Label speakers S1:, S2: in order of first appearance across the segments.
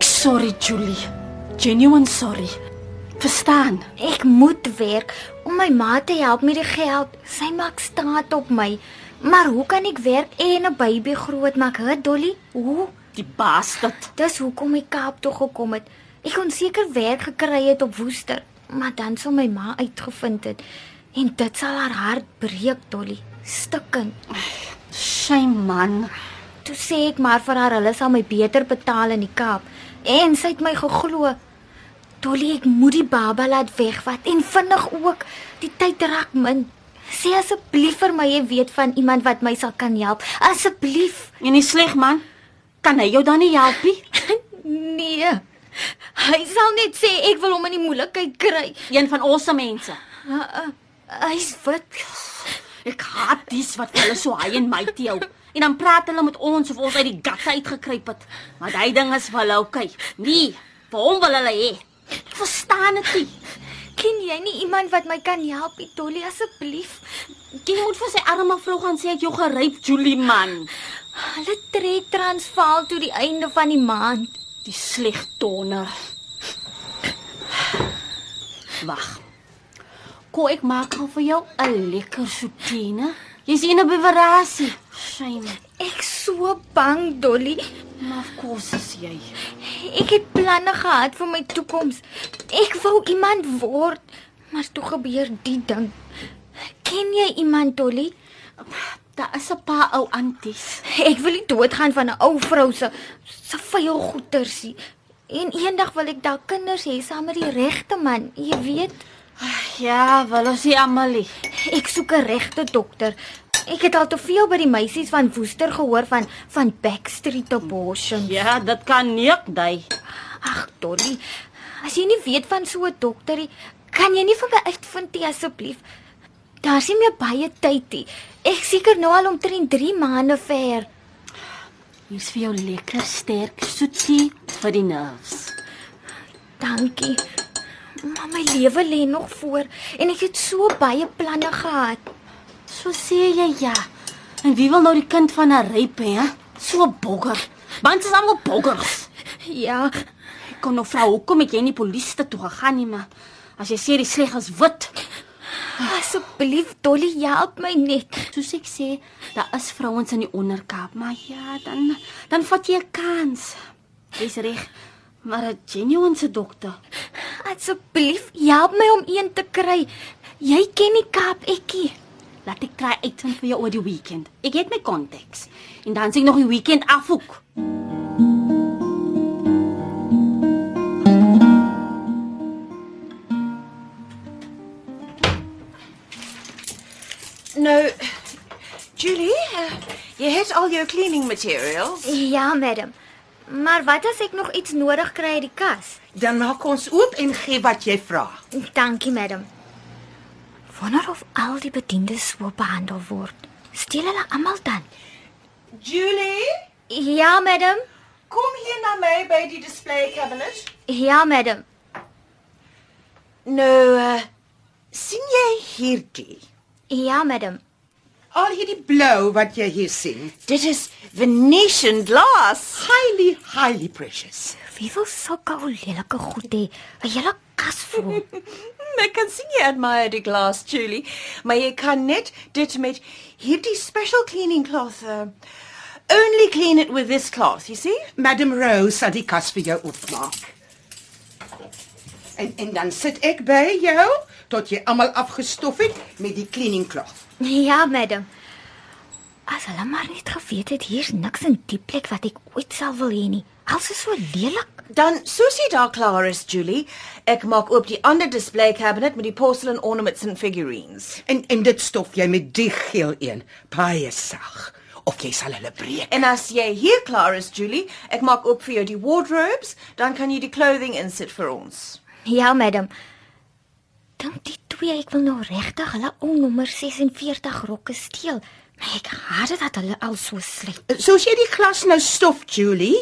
S1: sorry Julie. Genuine sorry. Verstaan?
S2: Ek moet werk om my ma te help met die geld. Sy maak staat op my. Maar hoe kan ek werk en 'n baby grootmaak, hè, Dolly? Hoe?
S1: Die bastard.
S2: Dis hoekom ek Kaap toe gekom het. Ek kon seker werk gekry het op Woester, maar dan sou my ma uitgevind het. En dit sal haar hart breek, Dolly. Stikken.
S1: Shame man.
S2: Toe sê ek maar vir haar hulle sal my beter betaal in die Kaap en sy het my geglo. Dolly, ek moet die baba laat wegvat en vinnig ook. Die tyd raak min. Sê asseblief vir my jy weet van iemand wat my sal kan help. Asseblief.
S1: En nie sleg man. Kan hy jou dan nie help nie?
S2: Nee. Hy sal net sê ek wil hom in die moeilikheid kry.
S1: Een van ons se mense.
S2: Uh, uh, Hy's wit.
S1: Ek haat dis wat hulle so high en mighty hou. En dan praat hulle met ons of ons uit die gatte uitgekruip het. Maar daai ding is vir hulle okay. Nee, vir hom wil hulle hê. Ek verstaan dit nie.
S2: Ken jy nie iemand wat my kan help, nie, Dolly asseblief?
S1: Jy moet vir sy arme vrou gaan sê ek jou geryp Julie man.
S2: Hulle trek Transvaal toe die einde van die maand.
S1: Die slegtoner. Wag. Ko ek maak gou vir jou 'n lekker soutine. Jy's in 'n bewerasie. Shame.
S2: Ek so bang, Dolly.
S1: Maar of course is jy.
S2: Ek het planne gehad vir my toekoms. Ek wou iemand word, maar toe gebeur die ding. Ken jy iemand, Dolly?
S1: Daar is 'n paar ou anties.
S2: Ek wil nie doodgaan van 'n ou vrou se se vuil goetersie. En eendag wil ek dalk kinders hê saam met die regte man, jy weet.
S1: Ag, Ja, wel ons hier Amalie.
S2: Ek soek 'n regte dokter. Ek het al te veel by die meisies van Woester gehoor van van Backstreet Abortion.
S1: Ja, dit kan nie dui.
S2: Ag, Dolly, as jy nie weet van so 'n dokter nie, kan jy nie vir my uitvind nie asseblief? Daar's nie meer baie tyd nie. Ek seker nou al omtrent 3 maande ver.
S1: Hier's vir jou lekker sterk soetie vir die nerves.
S2: Dankie. Maar my lewe lê nog voor en ek het so baie planne gehad.
S1: So sê jy ja. En wie wil nou die kind van 'n ryp hê, hè? So 'n bogger. Want is almal boggers.
S2: Ja,
S1: Ek kon nou vra hoekom het jy nie polisie toe gegaan nie, maar as jy sê die sleg is wit,
S2: asseblief Dolly, jy help my net.
S1: soos ek sê, daar is vrouens in die onderkaap, maar ja, dan dan vat jy 'n kans. Dis reg. Maar 'n genuine se dokter.
S2: Asseblief, help my om een te kry. Jy ken die Kaap ekkie.
S1: Laat ek try uitvind vir jou oor die weekend. Ek het my konteks. En dan sien ek nog die weekend afhoek.
S3: Nou, Julie, eh, jy het al jou cleaning materials.
S2: Ja, madam. Maar wat as ek nog iets nodig kry uit die kas?
S3: Dan maak ons oop en gee wat jy vra.
S2: Dankie, madam. Wonder of al die bediendes so behandel word. Steel hulle almal dan?
S3: Julie,
S2: Ja, madam.
S3: kom hier na my by die display cabinet.
S2: Ja, madam.
S3: Nou, uh, sien jy hierdie?
S2: Ja, madam.
S3: Al hierdie blou wat jy hier sien. Dit is Venetian glass, highly highly precious.
S2: Wie wil sulke ou lelike goed hê? 'n Hele kas vol.
S3: Hmm, Ek kan sien jy admire die glas, Julie, maar jy kan net dit met hierdie special cleaning cloth uh, only clean it with this cloth, you see?
S4: Madam Rose sal die kas vir jou oopmaak. En en dan sit ek by jou tot jy almal afgestof het met die cleaning cloth.
S2: Ja, madam. As hulle maar net geweet het hier's niks in die plek wat ek ooit sal wil hê nie. Alles is so lelik.
S3: Dan soos jy daar klaar is, Julie, ek maak oop die ander display cabinet met die porcelain ornaments en figurines.
S4: En en dit stof jy met die geel een, baie sag, of jy sal hulle breek.
S3: En as jy hier klaar is, Julie, ek maak oop vir jou die wardrobes, dan kan jy die clothing insit vir ons.
S2: Ja, madam. Dink die twee ek wil nou regtig hulle ou nommer 46 rokke steel. Maar ek haat dit dat hulle al so sleg.
S4: Soos jy die glas nou stof, Julie,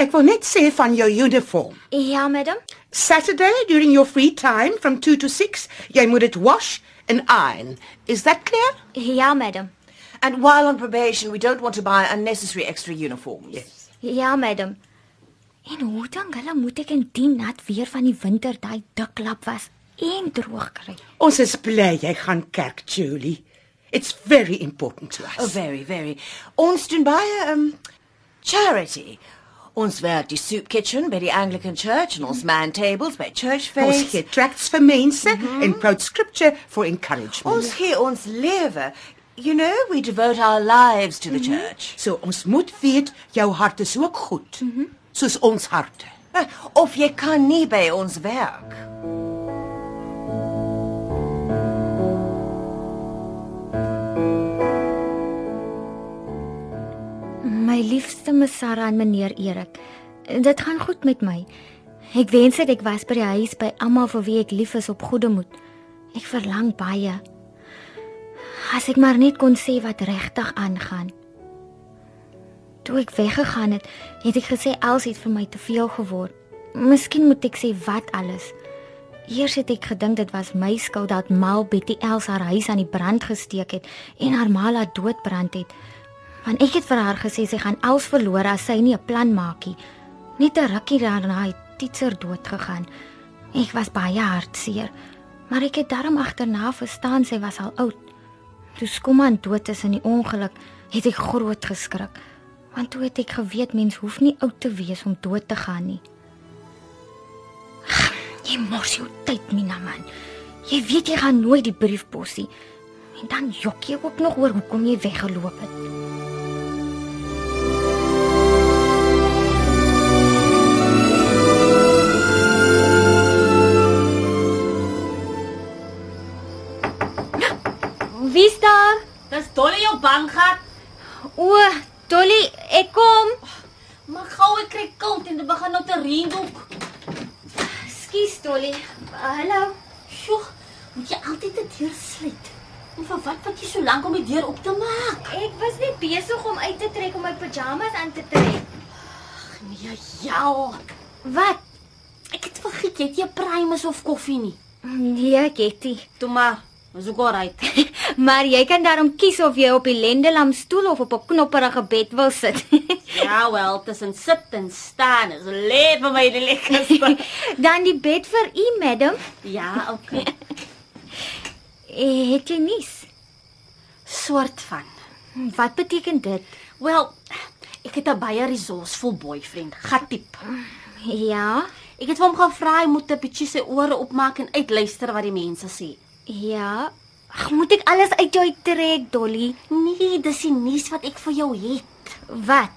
S4: ek wil net sê van jou uniform.
S2: Ja, madam.
S4: Saturday during your free time from 2 to 6, jy moet dit wash en iron. Is that clear?
S2: Ja, madam.
S3: And while on probation, we don't want to buy unnecessary extra uniforms.
S4: Yes.
S2: Ja, madam. En hoe dink hulle moet ek in die nat weer van die winter daai dik lap was en droog kry?
S4: Ons is bly jy gaan kerk, Julie. It's very important to us.
S3: Oh, very, very. Ons doen baie um charity. Ons werk die soup kitchen by die Anglican Church en ons man tables by church
S4: Ons
S3: fairs.
S4: gee tracts vir mense en proud scripture for encouragement.
S3: Ons gee ons lewe. You know, we devote our lives to the
S4: Mhm.
S3: church.
S4: So ons moet weet jou hart is ook goed, mm -hmm. soos ons harte.
S3: Eh, Of jy kan nie by ons werk.
S2: My liefste Ms Sarah en meneer Erik, dit gaan goed met my. Ek wens dit ek was by die huis by almal vir wie ek lief is op goeie moed. Ek verlang baie. As ek maar net kon sê wat regtig aangaan. Toe ek weggegaan het, het ek gesê Els het vir my te veel geword. Miskien moet ek sê wat alles. Eers het ek gedink dit was my skuld dat Mal Betty Els haar huis aan die brand gesteek het en haar ma laat doodbrand het. Want ek het vir haar gesê sy gaan Els verloor as sy nie 'n plan maak nie. Net 'n rukkie daarna het Titser dood gegaan. Ek was baie hartseer, maar ek het daarom agterna verstaan sy was al oud. Toe Skuman dood is in die ongeluk, het ek groot geskrik. Want toe het ek geweet mens hoef nie oud te wees om dood te gaan nie. Jy mors jou tyd, Mina man. Jy weet jy gaan nooit die brief pos nie. En dan jok jy ook nog oor hoekom jy weggeloop het.
S1: Wie's daar? Dis Dolly jou bankgat.
S2: O, Dolly, ek kom.
S1: Maar gou ek kry koud en dit begin nou te reën ook.
S2: Skus Dolly. Hallo.
S1: Ah, Sjoe, moet jy altyd die deur sluit? En vir wat wat jy so lank om die deur op te maak?
S2: Ek was net besig om uit te trek om my pyjamas aan te trek.
S1: Nee, ja.
S2: Wat?
S1: Ek het vergeet jy het nie 'n primus of koffie nie.
S2: Nee, Ketty.
S1: Toe maar, is ook alright.
S2: maar jy kan daarom kies of jy op die lendelam stoel of op 'n knopperige bed wil sit.
S1: Ja wel, tussen sit en staan is lê vir my die lekkerste.
S2: Dan die bed vir u, madam.
S1: ja, okay.
S2: Eh, Het jy nuus?
S1: Soort van.
S2: Wat beteken dit?
S1: Wel, ek het 'n baie resourceful boyfriend, Gatip.
S2: Ja.
S1: Ek het vir hom gevra hy moet 'n bietjie sy ore oopmaak en uitluister wat die mense sê.
S2: Ja. Ag, moet ek alles uit jou trek, Dolly?
S1: Nee, dis die nuus wat ek vir jou het.
S2: Wat?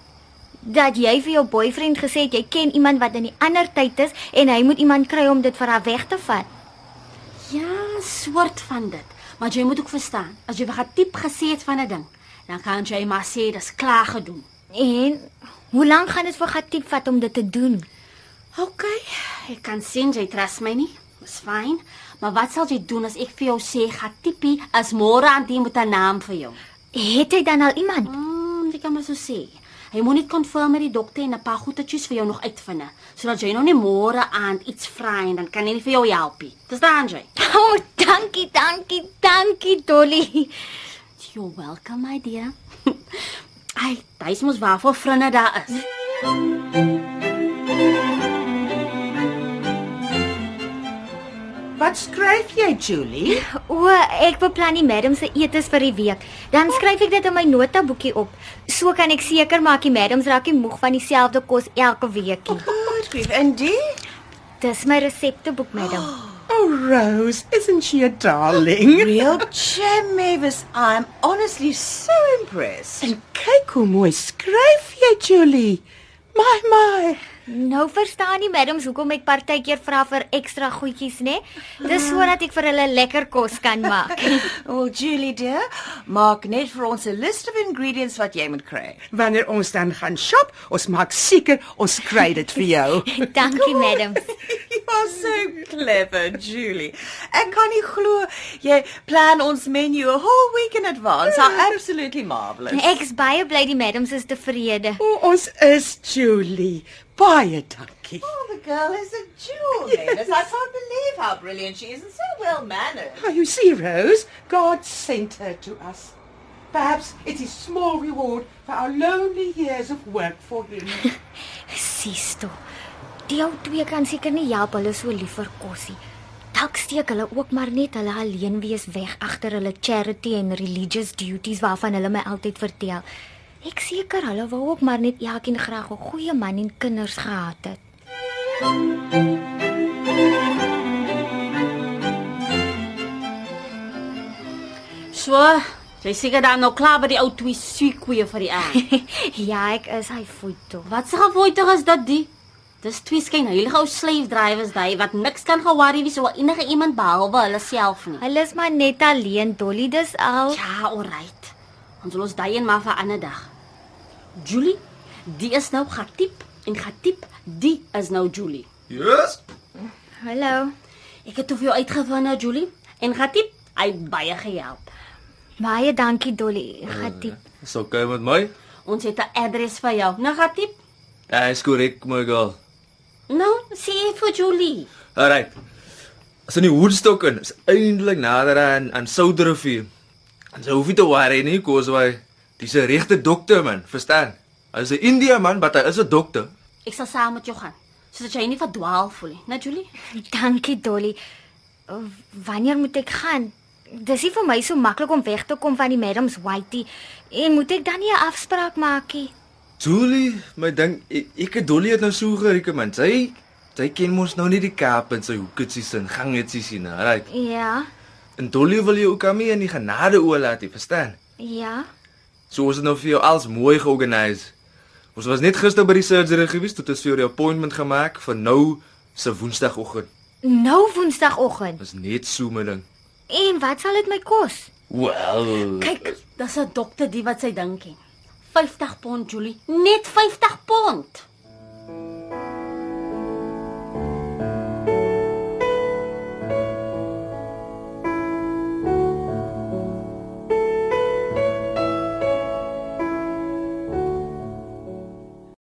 S2: Dat jy vir jou boyfriend gesê het jy ken iemand wat in die ander tyd is en hy moet iemand kry om dit vir haar weg te vat.
S1: Ja, soort van dit. Maar jy moet ook verstaan, as jy vir Gatip gesê het van 'n ding, dan kan jy maar sê dis klaar gedoen.
S2: En hoe lank gaan dit vir Gatiep vat om dit te doen?
S1: OK, ek kan sien jy trust my nie. Dis fyn. Maar wat sal jy doen as ek vir jou sê Gatipi as môre aan die moet 'n naam vir jou?
S2: Het hy dan al iemand?
S1: Mm, jy kan maar so sê. Hy moet net konfirm met die dokter en 'n paar goetetjies vir jou nog uitvind, sodat jy nou nie môre aan iets vra en dan kan hy nie vir jou help nie. Dis dan jy.
S2: Oh, dankie, dankie, dankie Dolly.
S1: You're welcome, my dear. Ai, dis mos waarvoor vriende daar is.
S4: Wat skryf jy, Julie?
S2: O, ek beplan die madam se etes vir die week. Dan skryf ek dit in my notaboekie op. So kan ek seker maak die madams raak nie moeg van dieselfde kos elke week nie.
S3: Good grief. Indeed.
S2: Dis my resepteboek, madam.
S4: Oh Rose, isn't she a darling?
S3: Real gem, Mavis. I'm honestly so impressed.
S4: en kyk hoe mooi skryf jy, Julie. My my.
S2: Nou verstaan die madams hoekom ek partykeer vra vir ekstra goedjies, né? Dis sodat ek vir hulle lekker kos kan maak.
S3: Well, Julie dear, maak net vir ons 'n list of ingredients wat jy moet kry.
S4: Wanneer ons dan gaan shop, ons maak seker ons kry dit vir jou.
S2: Dankie, madam.
S3: You are so clever, Julie. Ek kan nie glo jy plan ons menu a whole week in advance. How absolutely marvelous.
S2: Ek's baie bly die madams is tevrede.
S4: O, ons is Julie. Baie dankie.
S3: Oh, the girl is a jewel, Mavis. I can't believe how brilliant she is and so well mannered.
S4: Oh, you see, Rose, God sent her to us. Perhaps it's a small reward for our lonely years of work for him.
S2: Sies toe. Die ou twee kan seker nie help hulle so lief vir kosie. Dalk steek hulle ook maar net hulle alleen wees weg agter hulle charity en religious duties waarvan hulle my altyd vertel. Ek seker hulle wou ook maar net elkeen graag 'n goeie man en kinders gehad het.
S1: So, jy seker dan nou klaar by die ou twee suikoeie vir die aand.
S2: ja, ek is hy voet toe.
S1: Wat se gevoetig is dit die? Dis twee skynheilige ou slave drivers daai wat niks kan gewaar wie so enige iemand behalwe hulle self nie.
S2: Hulle is maar net alleen, Dolly, dis al.
S1: Ja, alright. Ons los daai een maar vir 'n ander dag. Julie, die is nou gatiep en gatiep, die is nou Julie.
S5: Yes.
S2: Hallo.
S1: Ek het hoeveel uitgevind, Julie? En gatiep, hy het baie gehelp.
S2: Baie dankie, Dolly. Gatiep.
S5: Is okay met my?
S1: Ons het 'n adres vir jou. Nou gatiep.
S5: Ja, is korrek, my girl.
S1: Nou, sê vir Julie.
S5: Alright. As in die Woodstock in, is eintlik nader aan aan Souderivier. Ons hoef nie te worry nie, kos hy. Dis 'n regte dokter man, verstaan? Hy's 'n Indië man, maar hy is 'n dokter.
S1: Ek sal saam met jou gaan sodat jy nie verdwaal voel nie. Nou Julie,
S2: Dankie, Dolly. W- Wanneer moet ek gaan? Dis nie vir my so maklik om weg te kom van die madams Whitey en moet ek dan nie 'n afspraak maak nie?
S5: Julie, my ding, ek- ek het Dolly het nou so gerieke man. Sy sy ken mos nou nie die Kaap en sy hoekitsies en gangetsies nie. Alright.
S2: Ja.
S5: En Dolly wil jou ook aan my in die genade oorlaat, jy verstaan?
S2: Ja.
S5: So ons het nou vir jou alles mooi georganiseer. Ons was net gister by die surgery gewees tot ons vir jou die appointment gemaak vir nou se woensdagoggend.
S2: Nou woensdagoggend.
S5: Dis net so my ding.
S2: En wat sal dit my kos?
S5: Wel.
S1: kyk, dis 'n dokter die wat sy dink ken. 50 pond Julie, net 50 pond.